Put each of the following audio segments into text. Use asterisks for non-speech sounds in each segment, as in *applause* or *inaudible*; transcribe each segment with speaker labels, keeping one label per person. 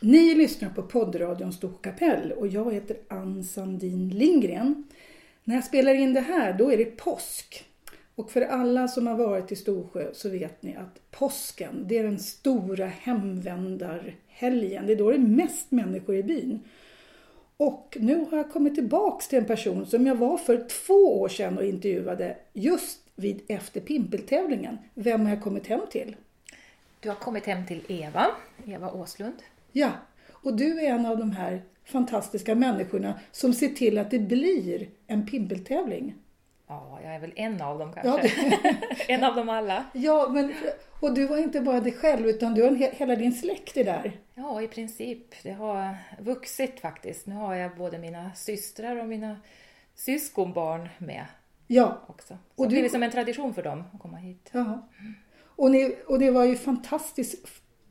Speaker 1: Ni lyssnar på poddradion Storkapell och jag heter Ann Sandin Lindgren. När jag spelar in det här, då är det påsk. Och för alla som har varit i Storsjö så vet ni att påsken, det är den stora hemvändarhelgen. Det är då det är mest människor i byn. Och nu har jag kommit tillbaks till en person som jag var för två år sedan och intervjuade just vid efter pimpeltävlingen. Vem har jag kommit hem till?
Speaker 2: Du har kommit hem till Eva, Eva Åslund.
Speaker 1: Ja, och du är en av de här fantastiska människorna som ser till att det blir en pimpeltävling.
Speaker 2: Ja, jag är väl en av dem
Speaker 1: Ja,
Speaker 2: kanske. *laughs* en av dem alla.
Speaker 1: Ja, men, och du var inte bara dig själv utan du har en, he- hela din släkt är där.
Speaker 2: Ja, i princip. Det har vuxit faktiskt. Nu har jag både mina systrar och mina syskonbarn med
Speaker 1: Ja,
Speaker 2: också. Så
Speaker 1: Och
Speaker 2: det
Speaker 1: du-
Speaker 2: blir som en tradition för dem att komma hit.
Speaker 1: ja. Och, ni, och det var ju fantastiskt.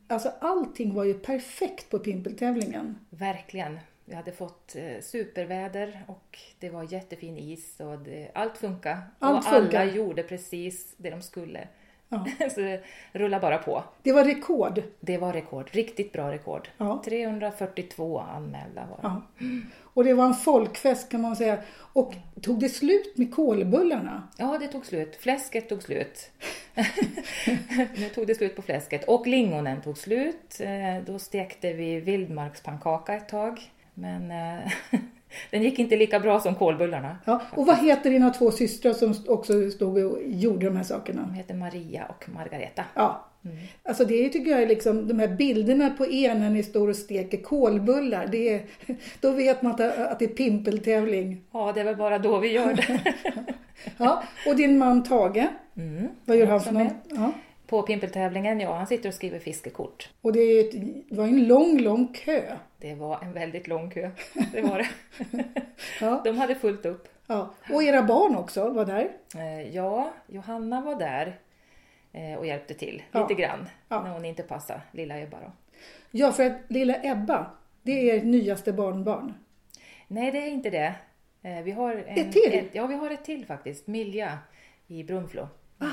Speaker 1: Alltså allting var ju perfekt på pimpeltävlingen.
Speaker 2: Verkligen. Vi hade fått eh, superväder och det var jättefin is och det, allt funkade.
Speaker 1: Allt
Speaker 2: och
Speaker 1: funkar.
Speaker 2: alla gjorde precis det de skulle.
Speaker 1: Ja.
Speaker 2: *laughs* Så det rullade bara på.
Speaker 1: Det var rekord.
Speaker 2: Det var rekord, riktigt bra rekord.
Speaker 1: Ja.
Speaker 2: 342 anmälda var
Speaker 1: Ja.
Speaker 2: det.
Speaker 1: Och det var en folkfest kan man säga. Och tog det slut med kolbullarna?
Speaker 2: Ja, det tog slut. Fläsket
Speaker 1: *laughs*
Speaker 2: tog slut. nu tog det slut på fläsket och lingonen tog slut. Eh, Då stekte vi vildmarkspannkaka ett tag, men eh, *laughs* den gick inte lika bra som kålbullarna.
Speaker 1: Ja. Och vad heter dina två systrar som också stod och gjorde de här sakerna?
Speaker 2: De heter Maria och Margareta.
Speaker 1: Ja. Alltså det är, tycker jag är liksom, de här bilderna på er när ni står och steker kolbullar, det är, då vet man att, att det är pimpeltävling.
Speaker 2: Ja, det är väl bara då vi
Speaker 1: *laughs*
Speaker 2: gör det.
Speaker 1: Ja. Och din man Tage,
Speaker 2: Mm.
Speaker 1: vad gör han
Speaker 2: också
Speaker 1: för något?
Speaker 2: med.
Speaker 1: Ja.
Speaker 2: På pimpeltävlingen, ja, han sitter och skriver fiskekort.
Speaker 1: Och det, är ju ett, det var ju en lång, lång kö.
Speaker 2: Det var en väldigt lång kö, *laughs* det var det.
Speaker 1: Ja.
Speaker 2: De hade fullt upp.
Speaker 1: Ja. Och era barn också var där.
Speaker 2: Eh, Ja, Johanna var där eh, och hjälpte till
Speaker 1: Ja.
Speaker 2: lite grann
Speaker 1: Ja.
Speaker 2: när hon inte passade lilla Ebba. Då.
Speaker 1: Ja, för att lilla Ebba, det är ert nyaste barnbarn.
Speaker 2: Nej, det är inte det. Eh, Vi har en,
Speaker 1: Ett till?
Speaker 2: ja, vi har ett till faktiskt. Milja i Brunflo.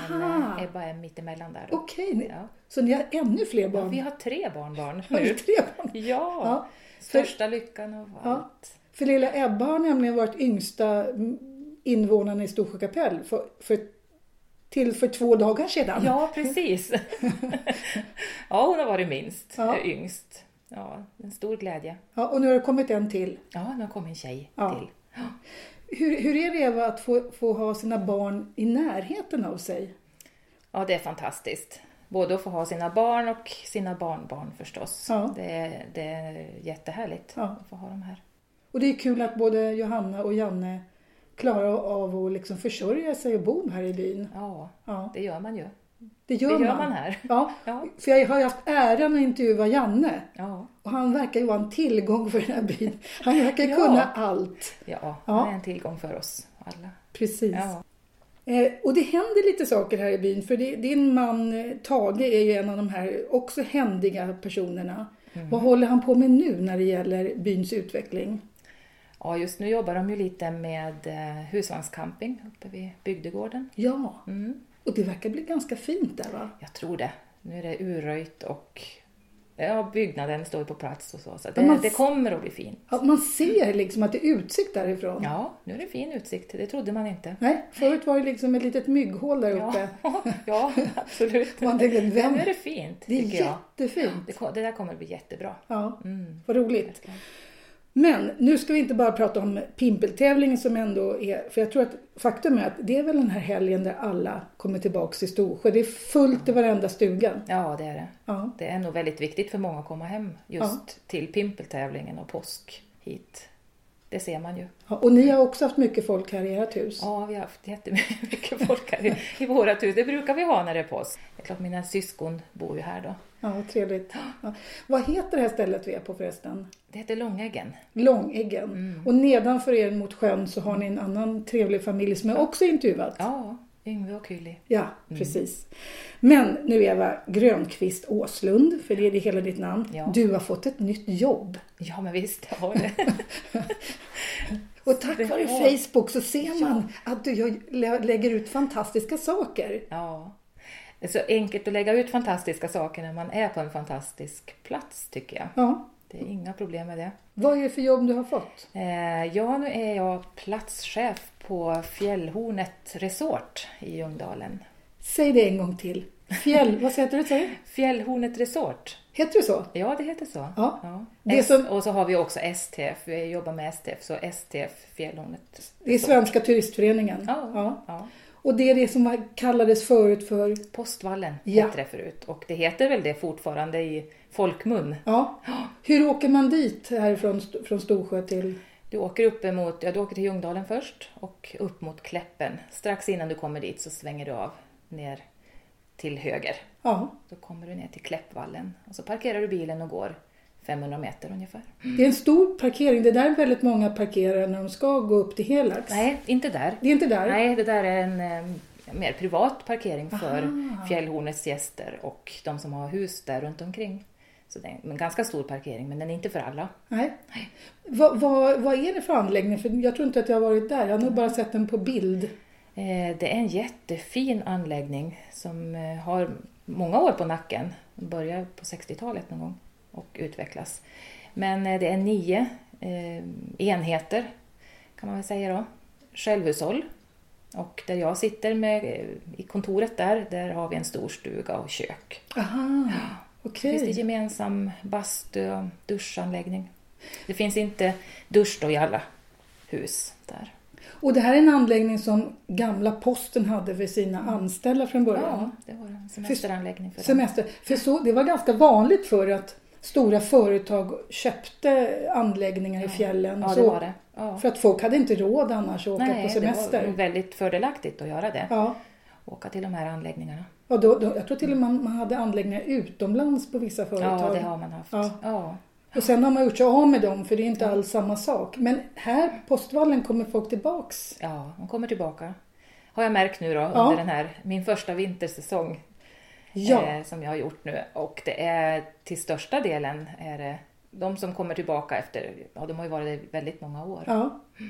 Speaker 2: Men
Speaker 1: Aha.
Speaker 2: eh, Ebba är mittemellan där. då.
Speaker 1: Okej, ni-
Speaker 2: Ja.
Speaker 1: så ni har ännu fler
Speaker 2: Ja, vi
Speaker 1: barn?
Speaker 2: har tre barnbarn
Speaker 1: Har ni
Speaker 2: nu.
Speaker 1: tre barn?
Speaker 2: Ja,
Speaker 1: Ja, för-
Speaker 2: största lyckan och
Speaker 1: Ja.
Speaker 2: allt.
Speaker 1: För lilla Ebba har nämligen varit yngsta mm, invånaren i Storsjö kapell för, för, till för två dagar sedan.
Speaker 2: Ja, precis. *laughs* ja, hon har varit minst,
Speaker 1: Ja.
Speaker 2: eh, yngst. Ja, en stor glädje.
Speaker 1: Ja, och nu har det kommit en till.
Speaker 2: Ja, nu kom en tjej
Speaker 1: Ja.
Speaker 2: till.
Speaker 1: Hur, hur är det Eva att få, få ha sina barn i närheten av sig?
Speaker 2: Ja, det är fantastiskt. Både att få ha sina barn och sina barnbarn förstås.
Speaker 1: Ja.
Speaker 2: Det, är, det är jättehärligt
Speaker 1: Ja.
Speaker 2: att få ha dem här.
Speaker 1: Och det är kul att både Johanna och Janne klarar av att liksom försörja sig och bo här i byn.
Speaker 2: Ja,
Speaker 1: Ja,
Speaker 2: det gör man ju.
Speaker 1: det
Speaker 2: Det
Speaker 1: gör,
Speaker 2: gör
Speaker 1: man.
Speaker 2: man här.
Speaker 1: Ja,
Speaker 2: Ja.
Speaker 1: för jag har ju haft äran att intervjua Janne
Speaker 2: Ja,
Speaker 1: och han verkar ju vara en tillgång för den här byn. Han verkar
Speaker 2: Ja.
Speaker 1: kunna allt.
Speaker 2: ja,
Speaker 1: Ja.
Speaker 2: det är en tillgång för oss alla.
Speaker 1: Precis.
Speaker 2: Ja,
Speaker 1: Eh, Och det händer lite saker här i byn, för det- din man eh, Tage är ju en av de här också händiga personerna.
Speaker 2: Mm.
Speaker 1: Vad håller han på med nu när det gäller byns utveckling?
Speaker 2: ja just nu jobbar de ju lite med eh, husvagnscamping uppe vid bygdegården.
Speaker 1: Ja,
Speaker 2: Mm.
Speaker 1: och det verkar bli ganska fint där va?
Speaker 2: Jag tror det. Nu är det urröjt och ja, byggnaden står ju på plats och så. Så
Speaker 1: Men man-
Speaker 2: det, det kommer att bli fint.
Speaker 1: Ja, man ser liksom att det är utsikt därifrån.
Speaker 2: Ja, nu är det fin utsikt. Det trodde man inte.
Speaker 1: Nej, förut var det liksom ett litet mygghål där uppe.
Speaker 2: Ja, *laughs* ja
Speaker 1: *laughs*
Speaker 2: absolut.
Speaker 1: Man tänker, vem-
Speaker 2: Ja, Nu är det fint,
Speaker 1: Det är
Speaker 2: tycker jag.
Speaker 1: jättefint.
Speaker 2: Det, ko- det där kommer att bli jättebra.
Speaker 1: Ja,
Speaker 2: Mm.
Speaker 1: vad roligt. Men nu ska vi inte bara prata om pimpeltävlingen som ändå är, för jag tror att faktum är att det är väl den här helgen där alla kommer tillbaks till Storsjö. Det är fullt i varenda stuga.
Speaker 2: Ja, det är det.
Speaker 1: Ja.
Speaker 2: Det är nog väldigt viktigt för många att komma hem just till pimpeltävlingen och påsk hit. Det ser man ju.
Speaker 1: Ja, Och ni har också haft mycket folk här i ert hus.
Speaker 2: Ja, vi har haft jättemycket folk här i, i vårat hus. Det brukar vi ha när det är påsk. Det är klart, mina syskon bor ju här då.
Speaker 1: Ja, vad trevligt. Ja. Vad heter det här stället vi är på förresten?
Speaker 2: Det heter Långäggen.
Speaker 1: Långeggen.
Speaker 2: Mm.
Speaker 1: Och nedanför er mot sjön så har ni en annan trevlig familj som jag också intervjuat.
Speaker 2: Ja, Mm. Yngve och Kyli.
Speaker 1: Ja, precis. Men nu Eva Grönqvist Åslund, för det är det hela ditt namn.
Speaker 2: Ja.
Speaker 1: Du har fått ett nytt jobb.
Speaker 2: Ja, men visst, jag har det.
Speaker 1: Och tack vare
Speaker 2: Ja.
Speaker 1: Facebook så ser man att du gör, lä- lägger ut fantastiska saker.
Speaker 2: Ja. Det är så enkelt att lägga ut fantastiska saker när man är på en fantastisk plats, tycker jag.
Speaker 1: Ja,
Speaker 2: Det är inga problem med det.
Speaker 1: Vad är det för jobb du har fått?
Speaker 2: Eh, Ja, nu är jag platschef på Fjällhornet Resort i Ljungdalen.
Speaker 1: Säg det en gång till.
Speaker 2: *laughs*
Speaker 1: Fjäll... Vad heter det? sa du?
Speaker 2: Fjällhornet Resort,
Speaker 1: Heter det så?
Speaker 2: ja det heter så.
Speaker 1: Ja. Det
Speaker 2: Det
Speaker 1: som-
Speaker 2: Och så har vi också STF, vi jobbar med STF, så STF Fjällhornet.
Speaker 1: Det är Svenska turistföreningen.
Speaker 2: Ja.
Speaker 1: Ja.
Speaker 2: Ja.
Speaker 1: Och det är det som var- kallades förut för...
Speaker 2: Postvallen
Speaker 1: Ja.
Speaker 2: hette det förut och det heter väl det fortfarande i folkmun.
Speaker 1: Ja. Hur åker man dit härifrån St- från Storsjö till...
Speaker 2: Du åker upp emot, ja, du åker till Ljungdalen först och upp mot Kläppen. Strax innan du kommer dit så svänger du av ner till höger.
Speaker 1: Ja.
Speaker 2: Då kommer du ner till Kläppvallen och så parkerar du bilen och går 500 meter ungefär.
Speaker 1: Det är en stor parkering. Det är där väldigt många parkerar när de ska gå upp till Helax.
Speaker 2: Nej, inte där.
Speaker 1: Det är inte där.
Speaker 2: Nej, det där är en eh, mer privat parkering för Fjällhornets gäster och de som har hus där runt omkring. Så det är en ganska stor parkering, men den är inte för alla.
Speaker 1: Nej. Vad, vad, vad är det för anläggning? För jag tror inte att jag har varit där. Jag har nog bara sett den på bild.
Speaker 2: Eh, Det är en jättefin anläggning som eh, har många år på nacken. Den började på 60-talet någon gång och utvecklas. Men eh, det är nio eh, enheter kan man väl säga då. Självhushåll. Och där jag sitter med, eh, i kontoret där, där har vi en stor stuga och kök.
Speaker 1: Aha, okej.
Speaker 2: Finns det gemensam bastu och duschanläggning. Det finns inte dusch då i alla hus där.
Speaker 1: Och det här är en anläggning som gamla posten hade för sina anställda från början.
Speaker 2: Ja, det var en semesteranläggning för dem.
Speaker 1: Semester. För så, det var ganska vanligt förr att stora företag köpte anläggningar i fjällen.
Speaker 2: Ja, det
Speaker 1: så,
Speaker 2: var det. Ja.
Speaker 1: För att folk hade inte råd annars att åka på semester.
Speaker 2: det var väldigt fördelaktigt att göra det.
Speaker 1: Ja.
Speaker 2: Åka till de här anläggningarna.
Speaker 1: Och då, då, jag tror till och med man, man hade anläggningar utomlands på vissa företag.
Speaker 2: Ja, det har man haft.
Speaker 1: Ja.
Speaker 2: Ja.
Speaker 1: Och sen har man gjort sig av med dem för det är inte alls samma sak. Men här på Postvallen kommer folk tillbaks.
Speaker 2: ja, de kommer tillbaka. Har jag märkt nu då
Speaker 1: Ja.
Speaker 2: under den här, min första vintersäsong
Speaker 1: Ja,
Speaker 2: eh, som jag har gjort nu. Och det är till största delen är det de som kommer tillbaka efter, ja de har ju varit där väldigt många år. Ja,
Speaker 1: ja.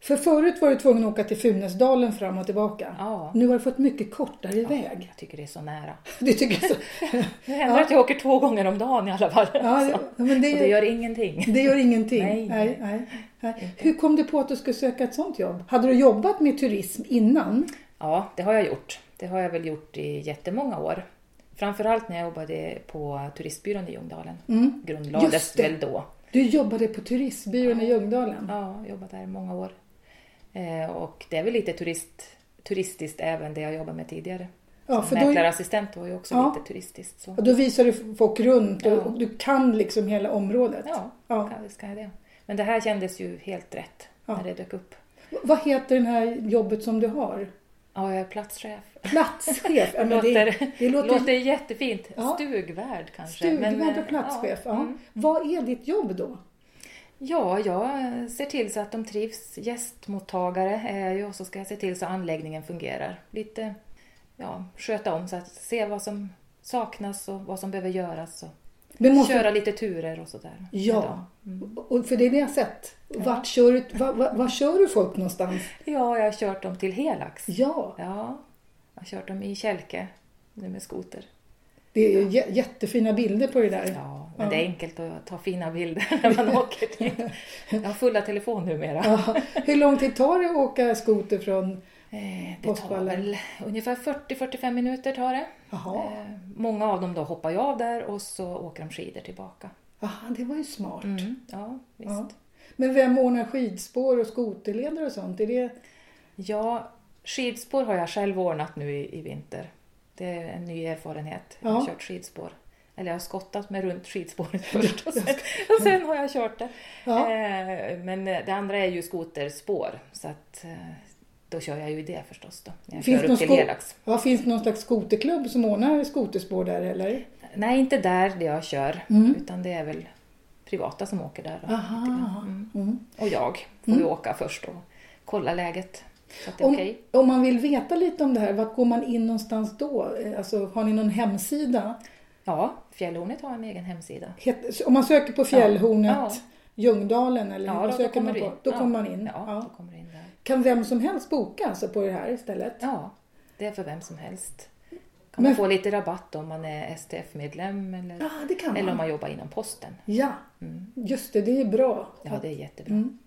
Speaker 1: För förut var du tvungen att åka till Funäsdalen fram och tillbaka. Nu har du fått mycket kortare väg. *laughs*
Speaker 2: jag tycker det är så nära.
Speaker 1: Det tycker jag så.
Speaker 2: *laughs* Det händer att jag åker två gånger om dagen i alla fall.
Speaker 1: Ja,
Speaker 2: *laughs* Så.
Speaker 1: det- men
Speaker 2: Och det
Speaker 1: det,
Speaker 2: gör ingenting.
Speaker 1: det gör ingenting.
Speaker 2: Nej.
Speaker 1: Nej, nej, nej. Hur kom du på att du skulle söka ett sånt jobb? Hade du jobbat med turism innan?
Speaker 2: Ja, det har jag gjort. Det har jag väl gjort i jättemånga år. Framförallt när jag jobbade på turistbyrån i Ljungdalen.
Speaker 1: Mm. Just
Speaker 2: Grundlades
Speaker 1: det.
Speaker 2: väl då.
Speaker 1: Du jobbade på turistbyrån i Ljungdalen.
Speaker 2: Ja, jag jobbade där i många år. Eh, och det är väl lite turist, turistiskt även det jag jobbade med tidigare.
Speaker 1: Ja,
Speaker 2: Som
Speaker 1: för då,
Speaker 2: Mäklarassistent var ju också
Speaker 1: Ja.
Speaker 2: lite turistiskt. Så.
Speaker 1: och då visar du folk runt och,
Speaker 2: Ja.
Speaker 1: och du kan liksom hela området.
Speaker 2: Ja,
Speaker 1: Ja.
Speaker 2: kan- ska jag det. Men det här kändes ju helt rätt
Speaker 1: Ja.
Speaker 2: när det dök upp.
Speaker 1: Vad heter det här jobbet som du har?
Speaker 2: Ja, jag är platschef.
Speaker 1: Platschef? Ja, men det,
Speaker 2: låter,
Speaker 1: det låter,
Speaker 2: låter jättefint.
Speaker 1: Ja.
Speaker 2: Stugvärd kanske. men,
Speaker 1: stugvärd
Speaker 2: eh,
Speaker 1: och platschef. Ja.
Speaker 2: mm.
Speaker 1: Vad är ditt jobb då?
Speaker 2: Ja, jag ser till så att de trivs. Gästmottagare är jag och så ska jag se till så anläggningen fungerar. Lite ja, sköta om så att se vad som saknas och vad som behöver göras. Och
Speaker 1: Men måste,
Speaker 2: Köra lite turer och sådär. Mm.
Speaker 1: ja, och för det är det jag har sett. Vart kör du, va, va, var kör du folk någonstans?
Speaker 2: Ja, jag har kört dem till Helax.
Speaker 1: Ja,
Speaker 2: Ja, jag har kört dem i Kälke nu med skoter.
Speaker 1: det är jä- jättefina bilder på det där.
Speaker 2: Ja, men det är enkelt att ta fina bilder när
Speaker 1: *laughs*
Speaker 2: man åker dit. Jag har fulla telefon numera.
Speaker 1: Ja. Hur lång tid tar det att åka skoter från...
Speaker 2: Eh, Det tar
Speaker 1: Postvallen.
Speaker 2: väl ungefär 40-45 minuter tar det.
Speaker 1: Jaha,
Speaker 2: Eh, Många av dem då hoppar ju av där och så åker de skidor tillbaka.
Speaker 1: Aha, det var ju smart.
Speaker 2: Ja, Mm, visst.
Speaker 1: Ja.
Speaker 2: Ja.
Speaker 1: Men vem ordnar skidspår och skoterleder och sånt? Är det...
Speaker 2: skidspår har jag själv ordnat nu i, i vinter. Det är en ny erfarenhet. Jag har
Speaker 1: Ja.
Speaker 2: kört skidspår. Eller jag har skottat mig
Speaker 1: *laughs*
Speaker 2: runt skidspåret först och sen, och sen har jag kört det.
Speaker 1: Ja.
Speaker 2: Eh, Men eh, det andra är ju skoterspår. Så att, eh, då kör jag ju det förstås då. När jag
Speaker 1: Finns det
Speaker 2: kör
Speaker 1: någon
Speaker 2: upp till
Speaker 1: sko-
Speaker 2: Helax.
Speaker 1: Ja, finns det någon slags skoterklubb som ordnar skoterspår där eller?
Speaker 2: Nej, inte där det jag kör.
Speaker 1: Mm.
Speaker 2: Utan det är väl privata som åker där. Då,
Speaker 1: Aha.
Speaker 2: lite grann. Mm.
Speaker 1: Mm.
Speaker 2: Och jag får ju åka först och kolla läget. Så att det är
Speaker 1: Om,
Speaker 2: okej.
Speaker 1: om man vill veta lite om det här, vart går man in någonstans då? Eh, Alltså, har ni någon hemsida?
Speaker 2: Ja, Fjällhornet har en egen hemsida.
Speaker 1: Het, om man söker på Fjällhornet,
Speaker 2: Ja.
Speaker 1: Ljungdalen eller
Speaker 2: Ja,
Speaker 1: vad
Speaker 2: då, då
Speaker 1: söker
Speaker 2: kommer
Speaker 1: man
Speaker 2: du
Speaker 1: på?
Speaker 2: in.
Speaker 1: Då
Speaker 2: ja.
Speaker 1: kommer man in.
Speaker 2: Ja,
Speaker 1: Ja.
Speaker 2: Då kommer du in där.
Speaker 1: Kan vem som helst boka alltså på det här stället?
Speaker 2: Ja, det är för vem som helst. Kan
Speaker 1: Men-
Speaker 2: man få lite rabatt om man är STF-medlem eller,
Speaker 1: Ja, det kan
Speaker 2: eller om
Speaker 1: man.
Speaker 2: man jobbar inom posten.
Speaker 1: Ja, just det, det är bra.
Speaker 2: Ja, det är jättebra.
Speaker 1: Mm.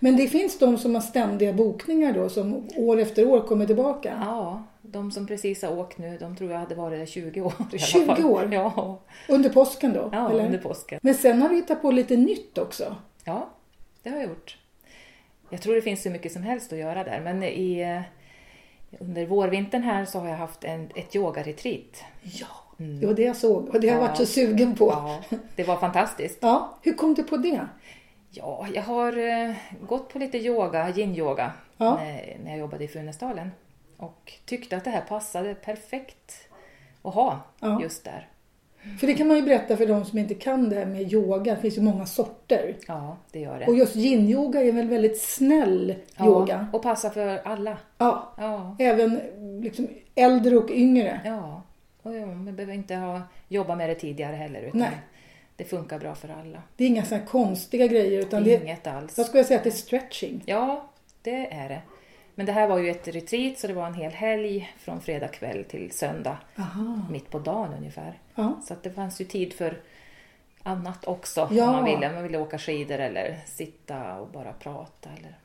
Speaker 1: Men det finns de som har ständiga bokningar då som år efter år kommer tillbaka.
Speaker 2: Ja, de som precis har åkt nu, de tror jag hade varit där 20 år i alla
Speaker 1: 20
Speaker 2: fall.
Speaker 1: år?
Speaker 2: Ja,
Speaker 1: Under påsken då?
Speaker 2: ja
Speaker 1: eller?
Speaker 2: under påsken.
Speaker 1: Men sen har du hittat på lite nytt också.
Speaker 2: Ja, det har jag gjort. Jag tror det finns hur mycket som helst att göra där, men i, eh, under vårvintern här så har jag haft en, ett yogaretreat.
Speaker 1: Ja, det var det jag såg och det har jag varit så sugen på. Mm. Ja.
Speaker 2: Ja, det var fantastiskt.
Speaker 1: hur kom du på det?
Speaker 2: Ja, jag har eh, gått på lite yoga, yin-yoga,
Speaker 1: Ja.
Speaker 2: när, när jag jobbade i Funäsdalen. Och tyckte att det här passade perfekt att ha
Speaker 1: Ja.
Speaker 2: just där.
Speaker 1: För det kan man ju berätta för de som inte kan det här med yoga. Det finns ju många sorter.
Speaker 2: Ja, det gör det.
Speaker 1: Och just yin-yoga är väl väldigt snäll
Speaker 2: ja,
Speaker 1: yoga?
Speaker 2: Och passa för alla.
Speaker 1: Ja,
Speaker 2: Ja,
Speaker 1: även liksom äldre och yngre.
Speaker 2: ja. Och ja, man behöver inte ha, jobba med det tidigare heller. Utan
Speaker 1: Nej.
Speaker 2: Det funkar bra för alla.
Speaker 1: Det är inga så här konstiga grejer utan det,
Speaker 2: Inget alls.
Speaker 1: jag skulle säga att det är stretching.
Speaker 2: Ja, det är det. Men det här var ju ett retreat så det var en hel helg från fredag kväll till söndag.
Speaker 1: Aha.
Speaker 2: Mitt på dagen ungefär.
Speaker 1: Ja.
Speaker 2: Så att det fanns ju tid för annat också
Speaker 1: Ja.
Speaker 2: om man ville. Om Man ville åka skidor eller sitta och bara prata. Eller...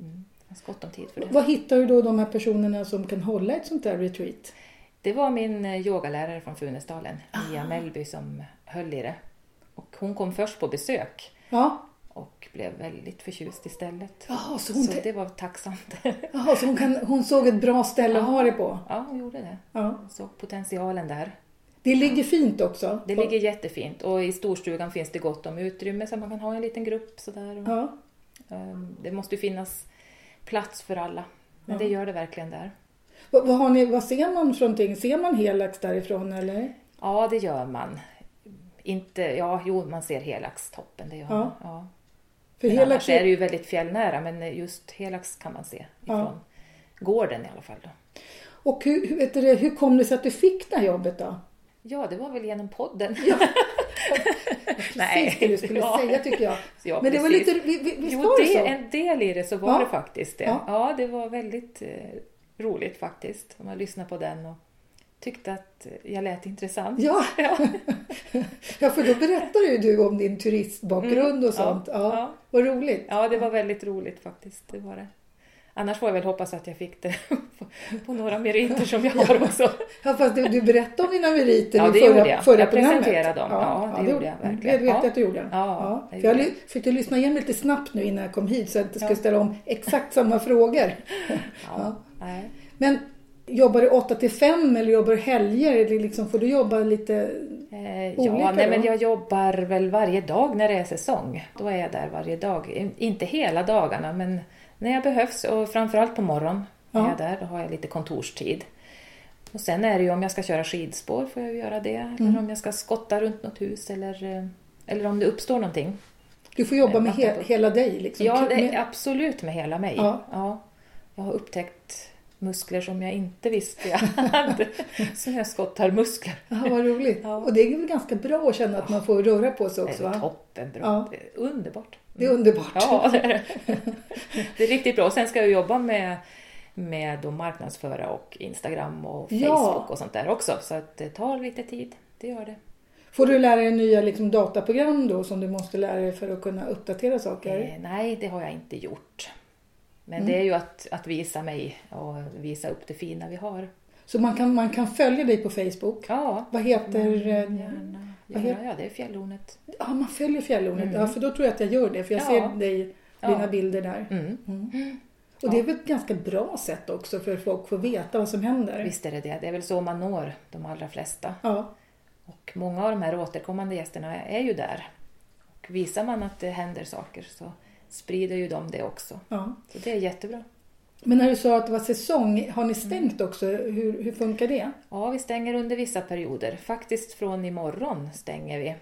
Speaker 2: Mm. Det fanns gott om tid för det.
Speaker 1: Vad hittar du då de här personerna som kan hålla ett sånt där retreat?
Speaker 2: Det var min eh, yogalärare från Funäsdalen,
Speaker 1: Ah.
Speaker 2: Mia Mellby, som höll i det. Och hon kom först på besök
Speaker 1: Ja,
Speaker 2: och blev väldigt förtjust i stället.
Speaker 1: Jaha, så hon,
Speaker 2: Så
Speaker 1: te-
Speaker 2: det var tacksamt. *laughs*
Speaker 1: Jaha, så hon, kan, hon såg ett bra ställe att ha det på?
Speaker 2: Ja, hon gjorde det.
Speaker 1: Ja.
Speaker 2: Hon såg potentialen där.
Speaker 1: Det ligger fint också.
Speaker 2: Det ligger jättefint och i storstugan finns det gott om utrymme så man kan ha en liten grupp sådär. Och...
Speaker 1: Ja.
Speaker 2: Ehm, Det måste ju finnas plats för alla. Men det gör det verkligen där.
Speaker 1: Vad, vad, har ni, vad ser man för någonting? Ser man helax därifrån eller?
Speaker 2: Ja, det gör man. Inte, ja, jo, man ser Helaxtoppen, det gör
Speaker 1: Ja.
Speaker 2: man. Ja.
Speaker 1: För
Speaker 2: Men
Speaker 1: helax
Speaker 2: annars är
Speaker 1: är...
Speaker 2: det ju väldigt fjällnära, men just Helax kan man se
Speaker 1: Ja.
Speaker 2: ifrån gården i alla fall. Då.
Speaker 1: Och hur, hur, vet du, det, hur kom det sig att du fick det här jobbet då?
Speaker 2: Ja, det var väl genom podden. *laughs*
Speaker 1: Precis det du skulle
Speaker 2: Ja.
Speaker 1: säga tycker jag.
Speaker 2: Ja,
Speaker 1: Men det var
Speaker 2: precis.
Speaker 1: lite, vi- vi- visst
Speaker 2: Jo,
Speaker 1: var det
Speaker 2: det
Speaker 1: så?
Speaker 2: är en del i det så var
Speaker 1: Ja.
Speaker 2: det faktiskt det.
Speaker 1: Ja.
Speaker 2: Ja. det var väldigt eh, roligt faktiskt. Man lyssnade på den och tyckte att eh, jag lät intressant.
Speaker 1: Ja.
Speaker 2: Ja.
Speaker 1: *laughs* ja, för då berättade ju du om din turistbakgrund och sånt. Ja,
Speaker 2: Mm. ja.
Speaker 1: Vad roligt.
Speaker 2: Ja, det var väldigt roligt faktiskt. Det var det. Annars får jag väl hoppas att jag fick det *laughs* på, på några meriter som jag har också.
Speaker 1: Ja, fast du, du berättade om dina meriter
Speaker 2: Ja,
Speaker 1: i
Speaker 2: det
Speaker 1: förra,
Speaker 2: gjorde jag.
Speaker 1: förra
Speaker 2: Jag
Speaker 1: programmet.
Speaker 2: presenterade dem. Ja, det gjorde jag verkligen.
Speaker 1: Det vet jag
Speaker 2: Ja.
Speaker 1: att du gjorde.
Speaker 2: Ja, det
Speaker 1: För jag
Speaker 2: gjorde
Speaker 1: ly- försökte lyssna igen lite snabbt nu innan jag kom hit så jag inte skulle
Speaker 2: Ja.
Speaker 1: ställa om exakt samma frågor. Ja.
Speaker 2: Ja, nej.
Speaker 1: Men jobbar du 8 till 5 eller jobbar du helger? Eller liksom, får du jobba lite?
Speaker 2: Eh,
Speaker 1: Olika
Speaker 2: ja, nej, men
Speaker 1: då?
Speaker 2: jag jobbar väl varje dag när det är säsong. Då är jag där varje dag. In- Inte hela dagarna, men när jag behövs och framförallt på morgonen
Speaker 1: Ja.
Speaker 2: är jag där. Då har jag lite kontorstid. Och sen är det ju om jag ska köra skidspår får jag ju göra det. Eller
Speaker 1: Mm.
Speaker 2: om jag ska skotta runt något hus eller, eh, eller om det uppstår någonting.
Speaker 1: Du får jobba med
Speaker 2: Vatten
Speaker 1: he-
Speaker 2: på.
Speaker 1: hela dig. Liksom.
Speaker 2: Ja, det
Speaker 1: Med-
Speaker 2: är absolut med hela mig.
Speaker 1: Ja.
Speaker 2: Ja. Jag har upptäckt muskler som jag inte visste jag
Speaker 1: *laughs*
Speaker 2: hade. Snöskottarmuskler.
Speaker 1: Ja, vad roligt.
Speaker 2: Ja.
Speaker 1: Och det är väl ganska bra att känna att man får röra på sig också.
Speaker 2: det är
Speaker 1: Va?
Speaker 2: toppenbra.
Speaker 1: Ja.
Speaker 2: Det är underbart.
Speaker 1: Det är underbart.
Speaker 2: Ja, det är det. *laughs* Det är riktigt bra. Och Sen ska jag jobba med, med då marknadsföra och Instagram och
Speaker 1: Ja.
Speaker 2: Facebook och sånt där också. Så att det tar lite tid. Det gör det.
Speaker 1: Får du lära dig nya liksom, dataprogram då som du måste lära dig för att kunna uppdatera saker?
Speaker 2: Eh, nej, det Mm. har jag inte gjort. Men det är ju att, att visa mig och visa upp det fina vi har.
Speaker 1: Så man kan, man kan följa dig på Facebook.
Speaker 2: Ja,
Speaker 1: Vad heter... eh,
Speaker 2: Mm, Gärna.
Speaker 1: Vad
Speaker 2: Ja,
Speaker 1: heter-
Speaker 2: ja, det är fjällhornet.
Speaker 1: Ja, man följer Fjällhornet. Ja, för då tror jag att jag gör det. För jag
Speaker 2: Mm. Ja.
Speaker 1: ser dig, dina
Speaker 2: Ja.
Speaker 1: bilder där.
Speaker 2: Mm.
Speaker 1: Och det är väl ett ganska bra sätt också för folk att få veta vad som händer.
Speaker 2: Visst är det det. Det är väl så man når de allra flesta.
Speaker 1: Ja.
Speaker 2: Och många av de här återkommande gästerna är ju där. Och visar man att det händer saker så sprider ju de det också.
Speaker 1: ja.
Speaker 2: Så det är jättebra.
Speaker 1: Men när du sa att det var säsong, har ni stängt
Speaker 2: Mm.
Speaker 1: också? Hur, hur funkar det?
Speaker 2: Ja, vi stänger under vissa perioder. Faktiskt från imorgon stänger vi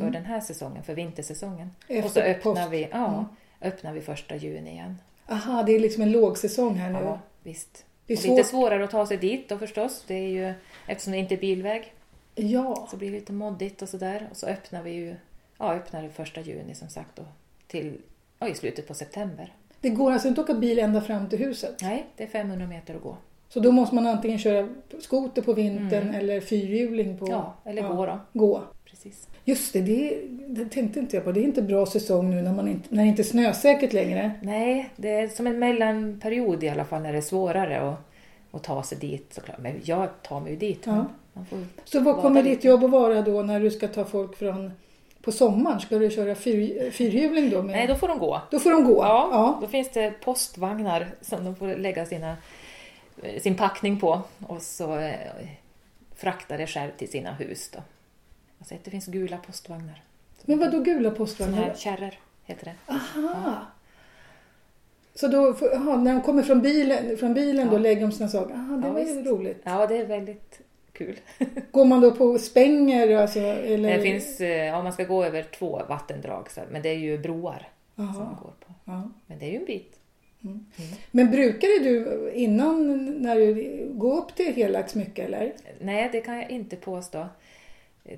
Speaker 2: för den här säsongen, för vintersäsongen. och så
Speaker 1: Mm. Efter påsk. Mm.
Speaker 2: öppnar vi, ja, öppnar vi första juni igen.
Speaker 1: Aha, det är liksom en lågsäsong här nu.
Speaker 2: Ja, visst.
Speaker 1: Det är
Speaker 2: Och Lite
Speaker 1: svårt.
Speaker 2: svårare att ta sig dit då förstås. Det är ju, eftersom det inte är bilväg.
Speaker 1: Ja.
Speaker 2: Så blir det lite moddigt och sådär. Och så öppnar vi ju, ja, öppnar det första juni som sagt och till, ja, i slutet på september.
Speaker 1: Det går alltså inte att åka bil ända fram till huset?
Speaker 2: Nej, det är 500 meter att gå.
Speaker 1: Så då måste man antingen köra skoter på vintern eller fyrhjuling på
Speaker 2: Mm. Ja, eller gå då.
Speaker 1: gå.
Speaker 2: Precis.
Speaker 1: Just det, det, det tänkte inte jag på. Det är inte bra säsong nu när, man inte, när det inte är snösäkert längre.
Speaker 2: Nej, det är som en mellanperiod i alla fall när det är svårare att, att ta sig dit såklart. Men jag tar mig ju dit.
Speaker 1: Ja.
Speaker 2: Man får,
Speaker 1: Så vad
Speaker 2: Vara
Speaker 1: kommer
Speaker 2: lite.
Speaker 1: ditt jobb att vara då när du ska ta folk från... På sommaren, ska du köra fyr, fyrhjuling då? Med,
Speaker 2: nej, då får de gå.
Speaker 1: då får de gå?
Speaker 2: Ja, Då finns det postvagnar som de får lägga sina, eh, sin packning på och så eh, frakta det själv till sina hus. Då. Alltså, det finns gula postvagnar.
Speaker 1: Men vad då gula
Speaker 2: Såna
Speaker 1: postvagnar?
Speaker 2: här kärror heter det.
Speaker 1: Aha! Så då, får- aha, när de kommer från bilen, från bilen då
Speaker 2: Ja.
Speaker 1: lägger de sina saker? Aha, det
Speaker 2: Ja,
Speaker 1: var ju
Speaker 2: visst.
Speaker 1: roligt.
Speaker 2: Ja, det är väldigt kul.
Speaker 1: Går man då på spänger? Alltså, eller?
Speaker 2: Det finns, eh, ja, man ska gå över två vattendrag, så, men det är ju broar som man
Speaker 1: Aha,
Speaker 2: går på.
Speaker 1: ja.
Speaker 2: Men det är ju en bit.
Speaker 1: Men brukade du innan när du gå upp till Helax mycket eller?
Speaker 2: Nej, det kan jag inte påstå.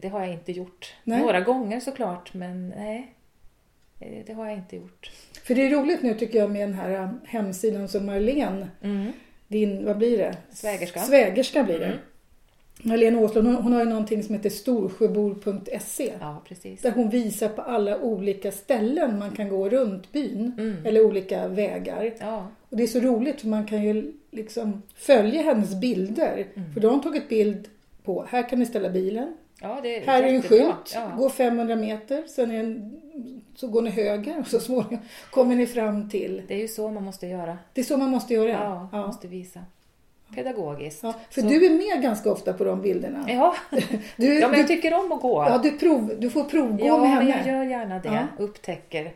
Speaker 2: Det har jag inte gjort.
Speaker 1: Nej.
Speaker 2: Några gånger såklart, men nej. eh, Det har jag inte gjort.
Speaker 1: För det är roligt nu tycker jag med den här äh, hemsidan som Marlene,
Speaker 2: Mm.
Speaker 1: din, vad blir det?
Speaker 2: Svägerska. Mm.
Speaker 1: Svägerska blir det. Marlene Åslund, hon, hon har ju någonting som heter storsjöbor.se.
Speaker 2: Ja, precis.
Speaker 1: Där hon visar på alla olika ställen man kan gå runt byn.
Speaker 2: Mm.
Speaker 1: Eller olika vägar.
Speaker 2: Ja,
Speaker 1: Och det är så roligt för man kan ju liksom följa hennes bilder.
Speaker 2: Mm.
Speaker 1: För då har hon tagit bild på, här kan ni ställa bilen.
Speaker 2: ja det är
Speaker 1: Här är en
Speaker 2: jättebra.
Speaker 1: skylt,
Speaker 2: Ja.
Speaker 1: gå 500 meter, sen är en, så går ni höger och så småningom kommer ni fram till.
Speaker 2: Det är ju så man måste göra.
Speaker 1: Det är så man måste göra.
Speaker 2: Ja, man
Speaker 1: Ja.
Speaker 2: måste visa. Pedagogiskt.
Speaker 1: Ja, för
Speaker 2: Så-
Speaker 1: du är med ganska ofta på de bilderna.
Speaker 2: Ja.
Speaker 1: *laughs* Du,
Speaker 2: ja, men jag
Speaker 1: du,
Speaker 2: tycker om att gå.
Speaker 1: ja, du, prov, du får provgå
Speaker 2: Ja,
Speaker 1: med
Speaker 2: men
Speaker 1: henne.
Speaker 2: jag gör gärna det.
Speaker 1: Ja.
Speaker 2: Upptäcker,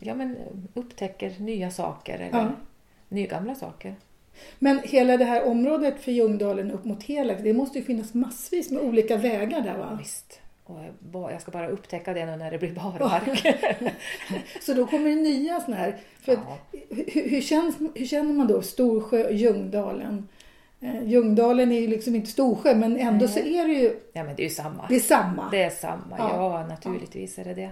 Speaker 2: ja, men upptäcker nya saker eller
Speaker 1: Ja.
Speaker 2: nygamla saker.
Speaker 1: Men hela det här området för Ljungdalen upp mot Helax, det måste ju finnas massvis med olika vägar där va?
Speaker 2: Visst. Och jag, bara, jag ska bara upptäcka det nu när
Speaker 1: *laughs*
Speaker 2: det blir barmark.
Speaker 1: Så då kommer det nya sådana här. För att,
Speaker 2: Ja.
Speaker 1: hur, hur, känns, hur känner man då Storsjö och Ljungdalen? Eh, Ljungdalen är ju liksom inte Storsjö men ändå så är det ju
Speaker 2: ja, men det är ju samma.
Speaker 1: det är samma.
Speaker 2: Det är samma.
Speaker 1: Ja.
Speaker 2: Ja, naturligtvis är det det.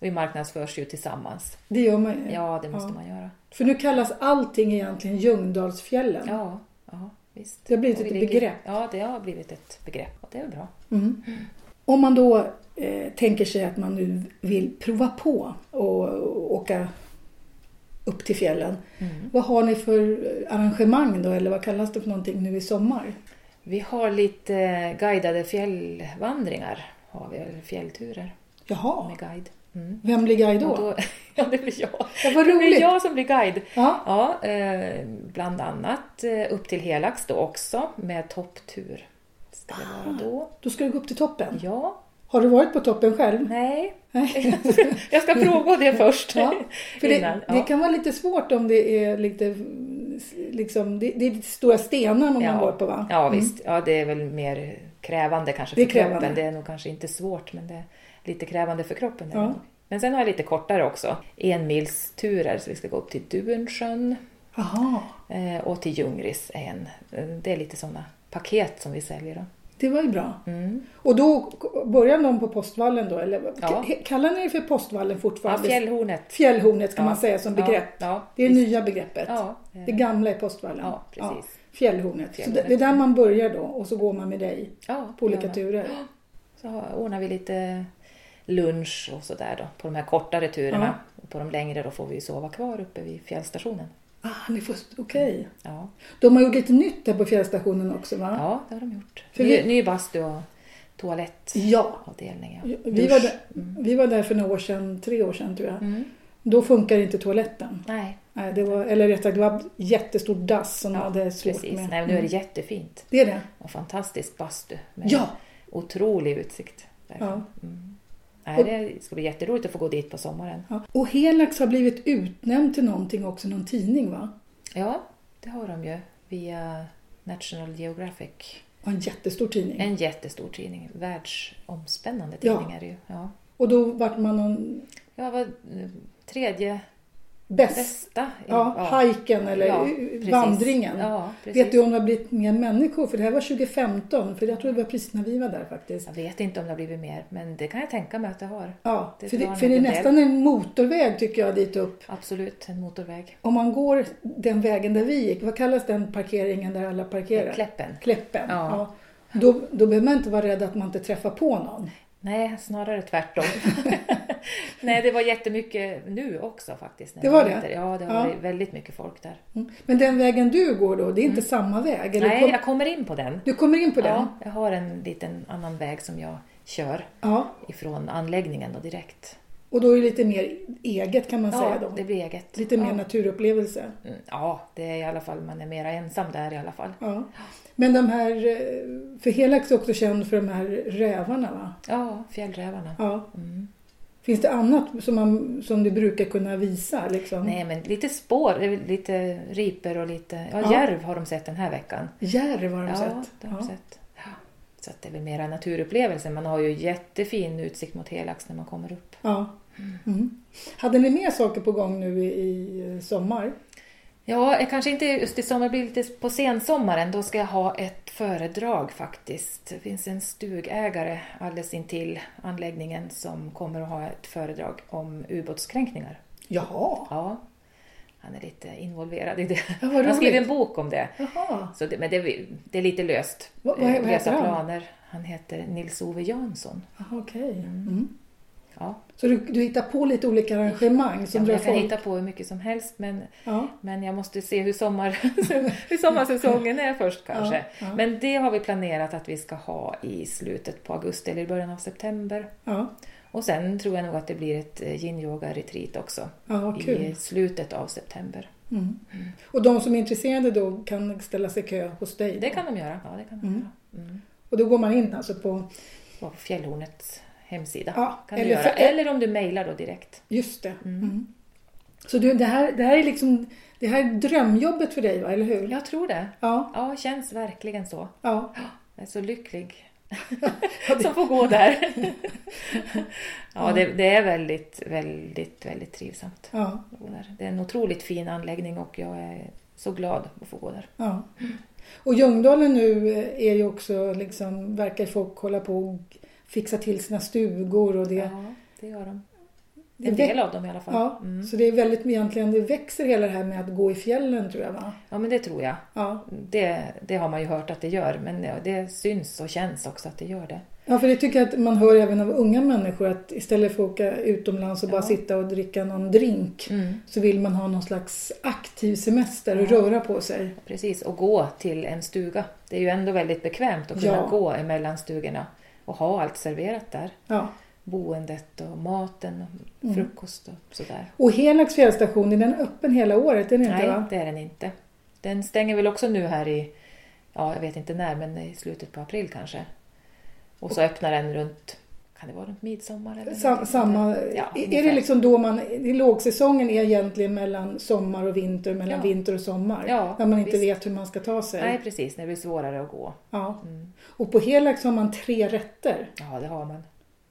Speaker 2: Vi marknadsförs ju tillsammans.
Speaker 1: Det gör man ju.
Speaker 2: Ja, det måste
Speaker 1: Ja.
Speaker 2: man göra.
Speaker 1: För nu kallas allting egentligen Ljungdalsfjällen.
Speaker 2: Ja, ja visst.
Speaker 1: Det har blivit
Speaker 2: Och vi
Speaker 1: ett
Speaker 2: ligger-
Speaker 1: begrepp.
Speaker 2: Ja, det har blivit ett begrepp och det är bra.
Speaker 1: Mm. Om man då eh, tänker sig att man nu vill prova på och, och åka upp till fjällen.
Speaker 2: Mm.
Speaker 1: Vad har ni för arrangemang då eller vad kallas det för någonting nu i sommar?
Speaker 2: Vi har lite guidade fjällvandringar, har vi, eller fjällturer
Speaker 1: Jaha,
Speaker 2: med guide. Mm.
Speaker 1: vem blir guide
Speaker 2: Och
Speaker 1: då?
Speaker 2: då *laughs* ja, det blir jag.
Speaker 1: Ja, vad
Speaker 2: *laughs* Det blir
Speaker 1: roligt!
Speaker 2: jag som blir guide.
Speaker 1: Ja.
Speaker 2: Ja, eh, bland annat eh, upp till Helax då också med topptur. Ska det vara då?
Speaker 1: Då ska du gå upp till toppen.
Speaker 2: Ja,
Speaker 1: Har du varit på toppen själv?
Speaker 2: nej.
Speaker 1: Nej.
Speaker 2: *laughs* Jag ska fråga det först.
Speaker 1: Ja, för det,
Speaker 2: Innan,
Speaker 1: det
Speaker 2: ja.
Speaker 1: kan vara lite svårt om det är lite, liksom, det, det är lite stora stenar man
Speaker 2: Ja.
Speaker 1: går på va? Mm.
Speaker 2: Ja visst, ja, det är väl mer krävande kanske
Speaker 1: Det är
Speaker 2: för
Speaker 1: krävande.
Speaker 2: kroppen. Det är nog kanske inte svårt men det är lite krävande för kroppen. är det
Speaker 1: Ja.
Speaker 2: nog. Men sen har jag lite kortare också. Enmilsturer, så vi ska gå upp till Dunsjön
Speaker 1: Jaha,
Speaker 2: eh, och till Ljungris är en. Eh, Det är lite sådana paket som vi säljer. Då.
Speaker 1: det var ju bra.
Speaker 2: Mm.
Speaker 1: Och då börjar de på postvallen då? Eller,
Speaker 2: Ja.
Speaker 1: Kallar ni det för postvallen
Speaker 2: Ja,
Speaker 1: fortfarande?
Speaker 2: fjällhornet.
Speaker 1: Fjällhornet kan
Speaker 2: Ja.
Speaker 1: man säga som
Speaker 2: Ja,
Speaker 1: begrepp.
Speaker 2: Ja,
Speaker 1: Det är det
Speaker 2: visst.
Speaker 1: nya begreppet.
Speaker 2: Ja,
Speaker 1: Det
Speaker 2: eh,
Speaker 1: gamla är postvallen.
Speaker 2: ja precis.
Speaker 1: Fjällhornet. Så
Speaker 2: Fjällhornet.
Speaker 1: det, det är där man börjar då och så går man med dig
Speaker 2: Ja,
Speaker 1: på olika
Speaker 2: ja.
Speaker 1: turer.
Speaker 2: Så har- ordnar vi lite lunch och sådär då på de här kortare turerna. Och På de längre då får vi ju sova kvar uppe vid fjällstationen.
Speaker 1: Ah, ni får, okej.
Speaker 2: Ja,
Speaker 1: De har gjort lite nytt där på fjällstationen också va?
Speaker 2: ja det har de gjort.
Speaker 1: För
Speaker 2: ny,
Speaker 1: vi-
Speaker 2: ny bastu och toalettavdelning.
Speaker 1: Ja.
Speaker 2: Ja.
Speaker 1: Vi
Speaker 2: Dusch.
Speaker 1: var, där, vi var där för några år sedan, tre år sedan tror jag.
Speaker 2: Mm.
Speaker 1: Då funkar inte toaletten.
Speaker 2: Nej,
Speaker 1: Nej, det var, eller rättare det var jättestort dass som
Speaker 2: Ja,
Speaker 1: hade svårt
Speaker 2: precis.
Speaker 1: med. Mm.
Speaker 2: Nej, men nu är det jättefint.
Speaker 1: Det är det?
Speaker 2: Och fantastisk bastu med
Speaker 1: Ja!
Speaker 2: otrolig utsikt. därifrån. Mm. Nej,
Speaker 1: Och-
Speaker 2: det ska bli jätteroligt att få gå dit på sommaren.
Speaker 1: Ja. Och Helax har blivit utnämnd till någonting också, någon tidning va?
Speaker 2: Ja, det har de ju via National Geographic.
Speaker 1: Och en jättestor tidning.
Speaker 2: En jättestor tidning. Världsomspännande
Speaker 1: Ja.
Speaker 2: tidning är det ju. Ja.
Speaker 1: Och då vart man någon...
Speaker 2: Jag var eh, tredje
Speaker 1: bäst.
Speaker 2: Bästa. i-
Speaker 1: Ja, hajken eller
Speaker 2: Ja,
Speaker 1: u-
Speaker 2: precis.
Speaker 1: vandringen.
Speaker 2: Ja, precis.
Speaker 1: Vet du om det har blivit mer människor? För det här var 2015, för jag tror det var precis när vi var där faktiskt.
Speaker 2: Jag vet inte om det har blivit mer, men det kan jag tänka mig att det har.
Speaker 1: Ja,
Speaker 2: Det
Speaker 1: för, det,
Speaker 2: drar
Speaker 1: för det
Speaker 2: nog
Speaker 1: är
Speaker 2: en del.
Speaker 1: nästan en motorväg tycker jag dit upp.
Speaker 2: Absolut, en motorväg.
Speaker 1: Om man går den vägen där vi gick, vad kallas den parkeringen där alla parkerar?
Speaker 2: Kläppen.
Speaker 1: Kläppen. Ja.
Speaker 2: Ja.
Speaker 1: Då, då behöver man inte vara rädd att man inte träffar på någon.
Speaker 2: Nej, snarare tvärtom. *laughs* Nej, det var jättemycket nu också faktiskt. när
Speaker 1: Det
Speaker 2: jag
Speaker 1: var
Speaker 2: ute.
Speaker 1: det?
Speaker 2: Ja, det har
Speaker 1: Ja.
Speaker 2: varit väldigt mycket folk där.
Speaker 1: Mm. Men den vägen du går då, det är inte samma väg? Eller
Speaker 2: Mm. Nej,
Speaker 1: kom,
Speaker 2: jag kommer in på den.
Speaker 1: Du kommer in på den?
Speaker 2: Ja, jag har en liten annan väg som jag kör
Speaker 1: Ja.
Speaker 2: ifrån anläggningen då direkt.
Speaker 1: Och då är det lite mer eget kan man säga
Speaker 2: Ja,
Speaker 1: då?
Speaker 2: det blir eget.
Speaker 1: Lite mer
Speaker 2: ja.
Speaker 1: naturupplevelse?
Speaker 2: Mm, ja, det är i alla fall, man är mera ensam där i alla fall.
Speaker 1: Ja. Men de här, eh, för Helax är också känd för de här rävarna va?
Speaker 2: Ja, fjällrävarna.
Speaker 1: Ja.
Speaker 2: Mm.
Speaker 1: Finns det annat som, man, som du brukar kunna visa? Liksom?
Speaker 2: Nej, men lite spår, eh, lite riper och lite... Ja,
Speaker 1: Ja.
Speaker 2: järv har de sett den här veckan.
Speaker 1: Järv har de
Speaker 2: ja,
Speaker 1: sett.
Speaker 2: det har de sett. Ja. Så att det är väl mera naturupplevelsen. Man har ju jättefin utsikt mot Helax när man kommer upp.
Speaker 1: Ja. Mm. Hade ni mer saker på gång nu i, i sommar?
Speaker 2: Ja, eh, kanske inte just i sommar, det blir lite på sensommaren. Då ska jag ha ett föredrag faktiskt. Det finns en stugägare alldeles intill anläggningen som kommer att ha ett föredrag om ubåtskränkningar.
Speaker 1: Jaha.
Speaker 2: Ja, han är lite involverad i det.
Speaker 1: Ja, vad
Speaker 2: han
Speaker 1: roligt.
Speaker 2: skrev en bok om det.
Speaker 1: Jaha.
Speaker 2: Så det men det, det är lite löst.
Speaker 1: Vad- vad- vad
Speaker 2: Eh,
Speaker 1: heter
Speaker 2: Lösa
Speaker 1: han?
Speaker 2: planer. Han heter Nils-Ove Jansson.
Speaker 1: Jaha okej. Mm.
Speaker 2: Ja.
Speaker 1: Så du, du hittar på lite olika arrangemang
Speaker 2: Ja,
Speaker 1: som
Speaker 2: men
Speaker 1: drar
Speaker 2: jag kan
Speaker 1: folk?
Speaker 2: hitta på hur mycket som helst men,
Speaker 1: Ja.
Speaker 2: men jag måste se hur, sommar, *laughs* hur sommarsäsongen är först kanske.
Speaker 1: ja.
Speaker 2: Men det har vi planerat att vi ska ha i slutet på augusti eller i början av september.
Speaker 1: Ja.
Speaker 2: Och sen tror jag nog att det blir ett eh, yin yoga retreat också
Speaker 1: ja, vad kul.
Speaker 2: i slutet av september.
Speaker 1: Mm. Och de som är intresserade då kan ställa sig i kö hos dig? då?
Speaker 2: Det kan de göra. Ja, det kan de
Speaker 1: Mm.
Speaker 2: göra. Mm.
Speaker 1: Och då går man in alltså på,
Speaker 2: Och på Fjällhornets hemsida
Speaker 1: Ja,
Speaker 2: kan du
Speaker 1: eller
Speaker 2: göra.
Speaker 1: för-
Speaker 2: Eller om du mejlar då direkt.
Speaker 1: just det. Mm. Så du, det, här, det här är liksom, det här är drömjobbet för dig va, eller hur?
Speaker 2: Jag tror det.
Speaker 1: Ja.
Speaker 2: Ja, känns verkligen så.
Speaker 1: ja.
Speaker 2: Jag är
Speaker 1: *laughs*
Speaker 2: så lycklig som får gå där. ja, det, det är väldigt, väldigt, väldigt trivsamt
Speaker 1: ja.
Speaker 2: att gå där. Det är en otroligt fin anläggning och jag är så glad att få gå där.
Speaker 1: Ja. Och Ljungdalen nu är ju också liksom, verkar folk hålla på och fixa till sina stugor och det.
Speaker 2: Ja, det gör de.
Speaker 1: det
Speaker 2: En
Speaker 1: väx-
Speaker 2: del av dem i alla fall.
Speaker 1: Ja,
Speaker 2: Mm.
Speaker 1: så det är väldigt, egentligen, det växer hela det här med att gå i fjällen tror jag va?
Speaker 2: ja men det tror jag.
Speaker 1: Ja.
Speaker 2: Det, det har man ju hört att det gör, men det- det syns och känns också att det gör det.
Speaker 1: Ja, för det tycker jag att man hör även av unga människor att istället för att åka utomlands och bara sitta och dricka någon drink så vill man ha någon slags aktiv semester och röra på sig.
Speaker 2: Precis, och gå till en stuga. Det är ju ändå väldigt bekvämt att kunna
Speaker 1: Ja.
Speaker 2: gå emellan stugorna och ha allt serverat där.
Speaker 1: Ja.
Speaker 2: boendet och maten och
Speaker 1: Mm.
Speaker 2: frukost och sådär.
Speaker 1: Och Helags fjällstation, är den öppen hela året? Är den inte,
Speaker 2: Nej,
Speaker 1: va?
Speaker 2: det är den inte. Den stänger väl också nu här i, ja jag vet inte när, men i slutet på april kanske. Och så öppnar den runt, kan det vara runt midsommar? Eller
Speaker 1: Sam,
Speaker 2: någonting sånt
Speaker 1: samma,
Speaker 2: där? Ja,
Speaker 1: är det
Speaker 2: ungefär.
Speaker 1: liksom då man, i lågsäsongen är egentligen mellan sommar och vinter, mellan
Speaker 2: Ja.
Speaker 1: vinter och sommar.
Speaker 2: Ja,
Speaker 1: när man inte
Speaker 2: visst.
Speaker 1: vet hur man ska ta sig.
Speaker 2: Nej, precis, när det blir svårare att gå. Mm.
Speaker 1: Ja. Och på Helags har man tre rätter.
Speaker 2: Ja, det har man.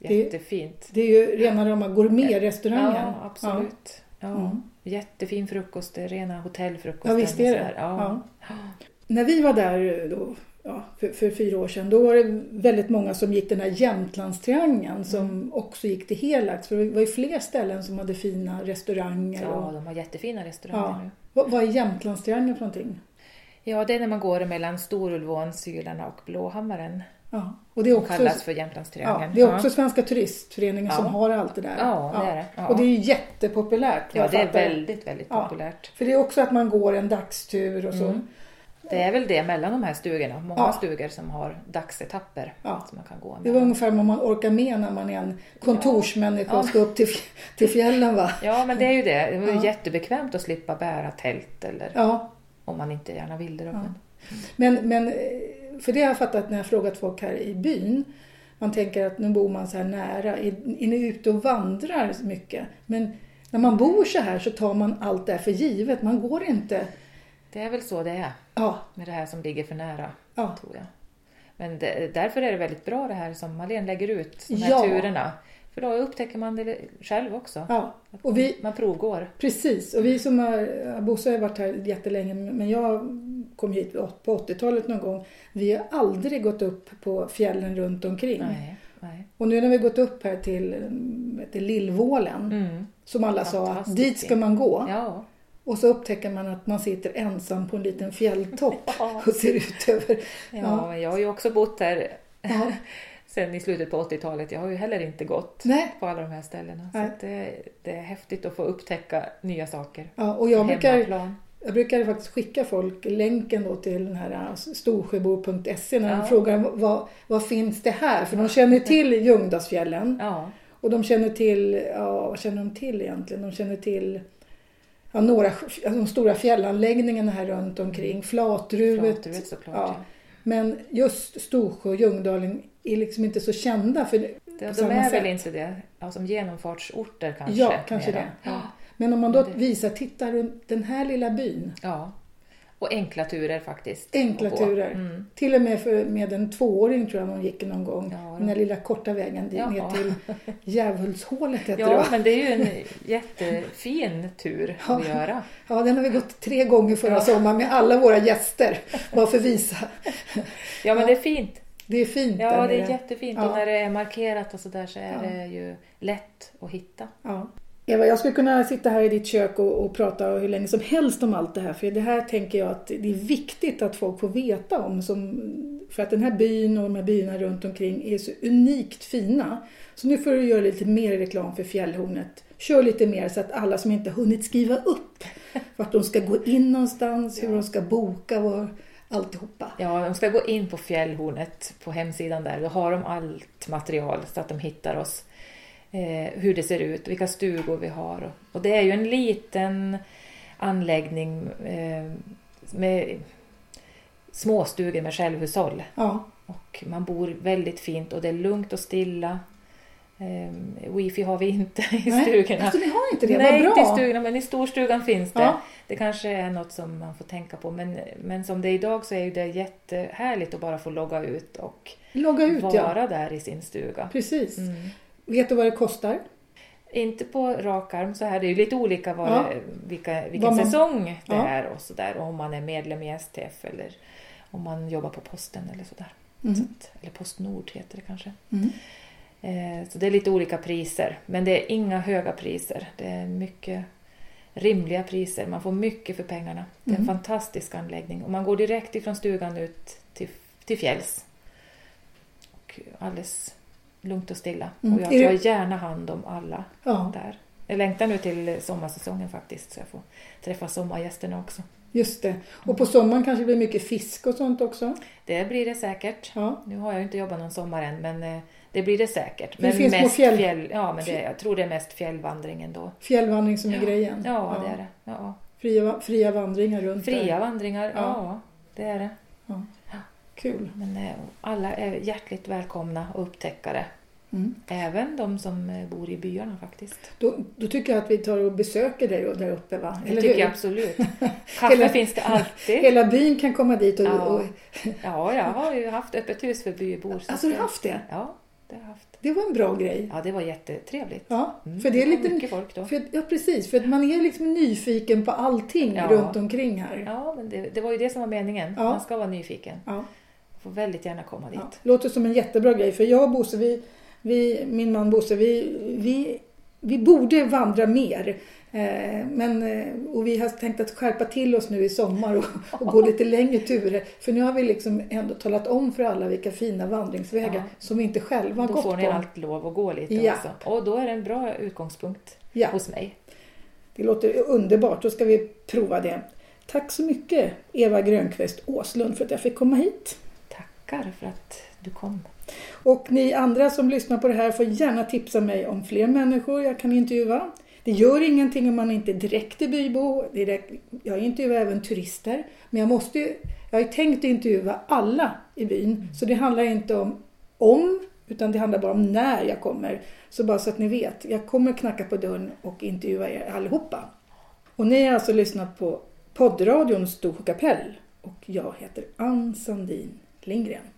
Speaker 1: Det-
Speaker 2: Jättefint.
Speaker 1: Det är ju rena rama gourmetrestaurangen.
Speaker 2: Ja, absolut. Ja.
Speaker 1: Mm.
Speaker 2: Jättefin frukost, det är rena hotellfrukosten.
Speaker 1: Ja, visst är
Speaker 2: och
Speaker 1: det.
Speaker 2: sådär. Ja.
Speaker 1: När vi var där då, ja, för, för fyra år sedan, då var det väldigt många som gick den här Jämtlandstriangeln
Speaker 2: Mm.
Speaker 1: som också gick till Helax. För det var ju fler ställen som hade fina restauranger.
Speaker 2: ja,
Speaker 1: Och,
Speaker 2: de har jättefina restauranger
Speaker 1: ja.
Speaker 2: nu.
Speaker 1: Vad, vad är Jämtlandstriangeln för någonting?
Speaker 2: Ja, det är när man går mellan Storulvån, Sylarna och Blåhammaren.
Speaker 1: Ja. Och det är
Speaker 2: Som
Speaker 1: också,
Speaker 2: kallas för
Speaker 1: ja,
Speaker 2: Jämtlandstriangeln.
Speaker 1: det är också Svenska turistföreningen som
Speaker 2: Ja.
Speaker 1: har allt det där.
Speaker 2: Ja, det är det. Ja.
Speaker 1: Och det är ju jättepopulärt. vad
Speaker 2: ja,
Speaker 1: jag
Speaker 2: det är
Speaker 1: fattar.
Speaker 2: väldigt, väldigt
Speaker 1: Ja.
Speaker 2: populärt.
Speaker 1: För det är också att man går en dagstur och så.
Speaker 2: Mm. Det är väl det mellan de här stugorna. Många
Speaker 1: Ja.
Speaker 2: stugor som har dagsetapper
Speaker 1: Ja.
Speaker 2: som man kan gå
Speaker 1: Det var
Speaker 2: med.
Speaker 1: ungefär vad man orkar med när man är en kontorsmänniska och ska upp till, fj- till fjällen va?
Speaker 2: Ja, men det är ju det. Det var ju jättebekvämt att slippa bära tält eller
Speaker 1: Ja,
Speaker 2: om man inte gärna vill det. då, Men,
Speaker 1: Men, men eh, för det har jag fattat när jag frågat folk här i byn. Man tänker att nu bor man så här nära. Är, är ni ute och vandrar så mycket? Men när man bor så här så tar man allt det här för givet. Man går inte...
Speaker 2: det är väl så det är
Speaker 1: Ja,
Speaker 2: med det här som ligger för nära,
Speaker 1: Ja.
Speaker 2: tror jag. Men det, därför är det väldigt bra det här som Malin lägger ut, de här
Speaker 1: Ja.
Speaker 2: turerna. För då upptäcker man det själv också.
Speaker 1: Ja,
Speaker 2: Att
Speaker 1: och vi-
Speaker 2: Man provgår.
Speaker 1: precis. Och vi som har, Bosse har varit här jättelänge men jag kom hit på 80-talet någon gång. Vi har aldrig gått upp på fjällen runt omkring.
Speaker 2: Nej, nej.
Speaker 1: Och nu när vi gått upp här till, mm, till Lillvålen,
Speaker 2: Mm.
Speaker 1: som alla sa,
Speaker 2: Fantastiskt
Speaker 1: dit ska man gå.
Speaker 2: Ja.
Speaker 1: Och så upptäcker man att man sitter ensam på en liten fjälltopp
Speaker 2: *laughs* Ja.
Speaker 1: och ser ut över...
Speaker 2: Ja,
Speaker 1: Ja.
Speaker 2: men jag har ju också bott här
Speaker 1: Ja.
Speaker 2: sen i slutet på 80-talet. Jag har ju heller inte gått
Speaker 1: Nej.
Speaker 2: på alla de här ställena. Så
Speaker 1: Nej.
Speaker 2: att det, det är häftigt att få upptäcka nya saker.
Speaker 1: Ja, och jag brukar,
Speaker 2: Hemmaplan.
Speaker 1: jag brukar faktiskt skicka folk länken då till den här eh, storsjöbo.se när
Speaker 2: Ja.
Speaker 1: de frågar vad, vad finns det här? För de känner till Ljungdalsfjällen
Speaker 2: Ja,
Speaker 1: och de känner till, ja vad känner de till egentligen? De känner till ja, några, alltså de stora fjällanläggningarna här runt omkring, Flatruvet.
Speaker 2: Flatruet såklart.
Speaker 1: ja.
Speaker 2: Ja.
Speaker 1: Men just Storsjö och Ljungdalen är liksom inte så kända för det.
Speaker 2: De, de
Speaker 1: samma
Speaker 2: är
Speaker 1: sätt.
Speaker 2: väl inte det, ja, som genomfartsorter kanske?
Speaker 1: Ja, kanske
Speaker 2: mera.
Speaker 1: det.
Speaker 2: Ja.
Speaker 1: Men om man då
Speaker 2: Ja, det-
Speaker 1: visar, titta runt den här lilla byn.
Speaker 2: ja. Och enkla turer faktiskt.
Speaker 1: Enkla
Speaker 2: att gå.
Speaker 1: turer.
Speaker 2: Mm.
Speaker 1: Till och med för, med en tvååring tror jag man gick någon gång.
Speaker 2: Ja, då.
Speaker 1: den där lilla korta vägen dit,
Speaker 2: Ja.
Speaker 1: ner till
Speaker 2: *laughs*
Speaker 1: Djävulshålet heter det
Speaker 2: Ja,
Speaker 1: va?
Speaker 2: men det är ju en jättefin tur att
Speaker 1: Ja.
Speaker 2: göra.
Speaker 1: Ja, den har vi gått tre gånger förra
Speaker 2: Ja.
Speaker 1: sommaren med alla våra gäster. Bara för att visa.
Speaker 2: Ja, men
Speaker 1: Ja.
Speaker 2: det är fint.
Speaker 1: Det är fint där
Speaker 2: Ja, det är
Speaker 1: nere.
Speaker 2: jättefint.
Speaker 1: Ja.
Speaker 2: Och när det är markerat och sådär så är
Speaker 1: Ja.
Speaker 2: det ju lätt att hitta.
Speaker 1: Ja. Eva, jag skulle kunna sitta här i ditt kök och, och prata hur länge som helst om allt det här. För det här tänker jag att det är viktigt att folk får veta om. Som, för att den här byn och de här byarna runt omkring är så unikt fina. Så nu får du göra lite mer reklam för Fjällhornet. Kör lite mer så att alla som inte hunnit skriva upp
Speaker 2: *laughs*
Speaker 1: vart de ska gå in någonstans, hur de ska boka och alltihopa.
Speaker 2: Ja, de ska gå in på Fjällhornet på hemsidan där. Då har de allt material så att de hittar oss. Eh, hur det ser ut, vilka stugor vi har. och- Och det är ju en liten anläggning eh, med småstugor med självhushåll.
Speaker 1: Ja,
Speaker 2: Och man bor väldigt fint och det är lugnt och stilla. Eh, wifi har vi inte i
Speaker 1: Nej,
Speaker 2: stugorna.
Speaker 1: Alltså, vi har inte det,
Speaker 2: Nej,
Speaker 1: vad
Speaker 2: inte i
Speaker 1: bra.
Speaker 2: stugorna, men i storstugan finns det.
Speaker 1: Ja.
Speaker 2: Det kanske är något som man får tänka på. Men, men som det är idag så är ju det jättehärligt att bara få logga ut och
Speaker 1: Logga ut ja.
Speaker 2: vara där i sin stuga.
Speaker 1: Precis.
Speaker 2: Mm.
Speaker 1: Vet du vad det kostar?
Speaker 2: Inte på rak arm så här. Det är ju lite olika vad
Speaker 1: Ja.
Speaker 2: det, vilka, vilken
Speaker 1: Vad man-
Speaker 2: säsong det
Speaker 1: Ja.
Speaker 2: är och så där. Och om man är medlem i STF eller om man jobbar på posten eller sådär.
Speaker 1: Mm.
Speaker 2: Så att, eller Postnord heter det kanske.
Speaker 1: Mm.
Speaker 2: Eh, Så det är lite olika priser, men det är inga höga priser. Det är mycket rimliga priser. Man får mycket för pengarna. Det är en
Speaker 1: Mm.
Speaker 2: fantastisk anläggning och man går direkt ifrån stugan ut till, till fjälls. Och alldeles lugnt och stilla.
Speaker 1: Mm.
Speaker 2: Och jag
Speaker 1: Är
Speaker 2: tar
Speaker 1: det-
Speaker 2: gärna hand om alla
Speaker 1: Ja.
Speaker 2: där. Jag längtar nu till sommarsäsongen faktiskt så jag får träffa sommargästerna också.
Speaker 1: Just det. Och på sommaren kanske det blir mycket fisk och sånt också.
Speaker 2: Det blir det säkert.
Speaker 1: Ja.
Speaker 2: Nu har jag inte jobbat någon sommar än, men eh, det blir det säkert.
Speaker 1: Det finns på fjäll-
Speaker 2: ja, men det, jag tror det är mest fjällvandringen då.
Speaker 1: Fjällvandring som är grejen.
Speaker 2: Ja, det är det. Ja.
Speaker 1: Fria, fria vandringar runt
Speaker 2: Fria
Speaker 1: där.
Speaker 2: vandringar, ja.
Speaker 1: Ja.
Speaker 2: det är det.
Speaker 1: Kul.
Speaker 2: Men eh, alla är hjärtligt välkomna att upptäcka det.
Speaker 1: Mm.
Speaker 2: Även de som eh, bor i byarna faktiskt.
Speaker 1: Då, då tycker jag att vi tar och besöker dig och där uppe va?
Speaker 2: Det
Speaker 1: Eller
Speaker 2: tycker
Speaker 1: hur?
Speaker 2: jag
Speaker 1: *laughs*
Speaker 2: absolut. Kaffe
Speaker 1: Hela-
Speaker 2: finns
Speaker 1: *laughs*
Speaker 2: det alltid.
Speaker 1: Hela byn kan komma dit och...
Speaker 2: Ja.
Speaker 1: och
Speaker 2: Ja, jag har ju haft öppet hus för bybor. så
Speaker 1: alltså du
Speaker 2: att
Speaker 1: har haft det?
Speaker 2: Ja, det har jag haft.
Speaker 1: Det var en bra grej.
Speaker 2: Ja, det var jättetrevligt.
Speaker 1: Ja,
Speaker 2: Mm,
Speaker 1: för det är
Speaker 2: var
Speaker 1: lite...
Speaker 2: mycket folk då.
Speaker 1: För, att- ja, precis. För att man är liksom nyfiken på allting
Speaker 2: Ja.
Speaker 1: runt omkring här.
Speaker 2: Ja, men det, det var ju det som var meningen.
Speaker 1: Ja.
Speaker 2: Man ska vara nyfiken.
Speaker 1: Ja.
Speaker 2: Får väldigt gärna komma dit.
Speaker 1: Ja, låter som en jättebra grej för jag och Bosse, vi, vi, min man Bosse, vi, vi, vi borde vandra mer. Eh, Men, eh, och vi har tänkt att skärpa till oss nu i sommar och,
Speaker 2: *laughs*
Speaker 1: och gå lite längre turer. För nu har vi liksom ändå talat om för alla vilka fina vandringsvägar
Speaker 2: Ja.
Speaker 1: som vi inte själva har
Speaker 2: Då
Speaker 1: gått
Speaker 2: får ni
Speaker 1: på.
Speaker 2: allt lov att gå lite
Speaker 1: Ja.
Speaker 2: också. Och då är det en bra utgångspunkt
Speaker 1: Ja,
Speaker 2: hos mig.
Speaker 1: det låter underbart, då ska vi prova det. Tack så mycket Eva Grönqvist Åslund för att jag fick komma hit.
Speaker 2: Tackar för att du kom.
Speaker 1: Och ni andra som lyssnar på det här får gärna tipsa mig om fler människor jag kan intervjua. Det gör ingenting om man inte är direkt är bybo. Direkt, jag intervjuar även turister. Men jag, måste ju, jag har ju tänkt intervjua alla i byn. Så det handlar inte om om, utan det handlar bara om när jag kommer. Så bara så att ni vet, jag kommer knacka på dörren och intervjua er allihopa. Och ni har alltså lyssnat på poddradion Storsjö kapell. Och jag heter Ann Sandin Lindgren.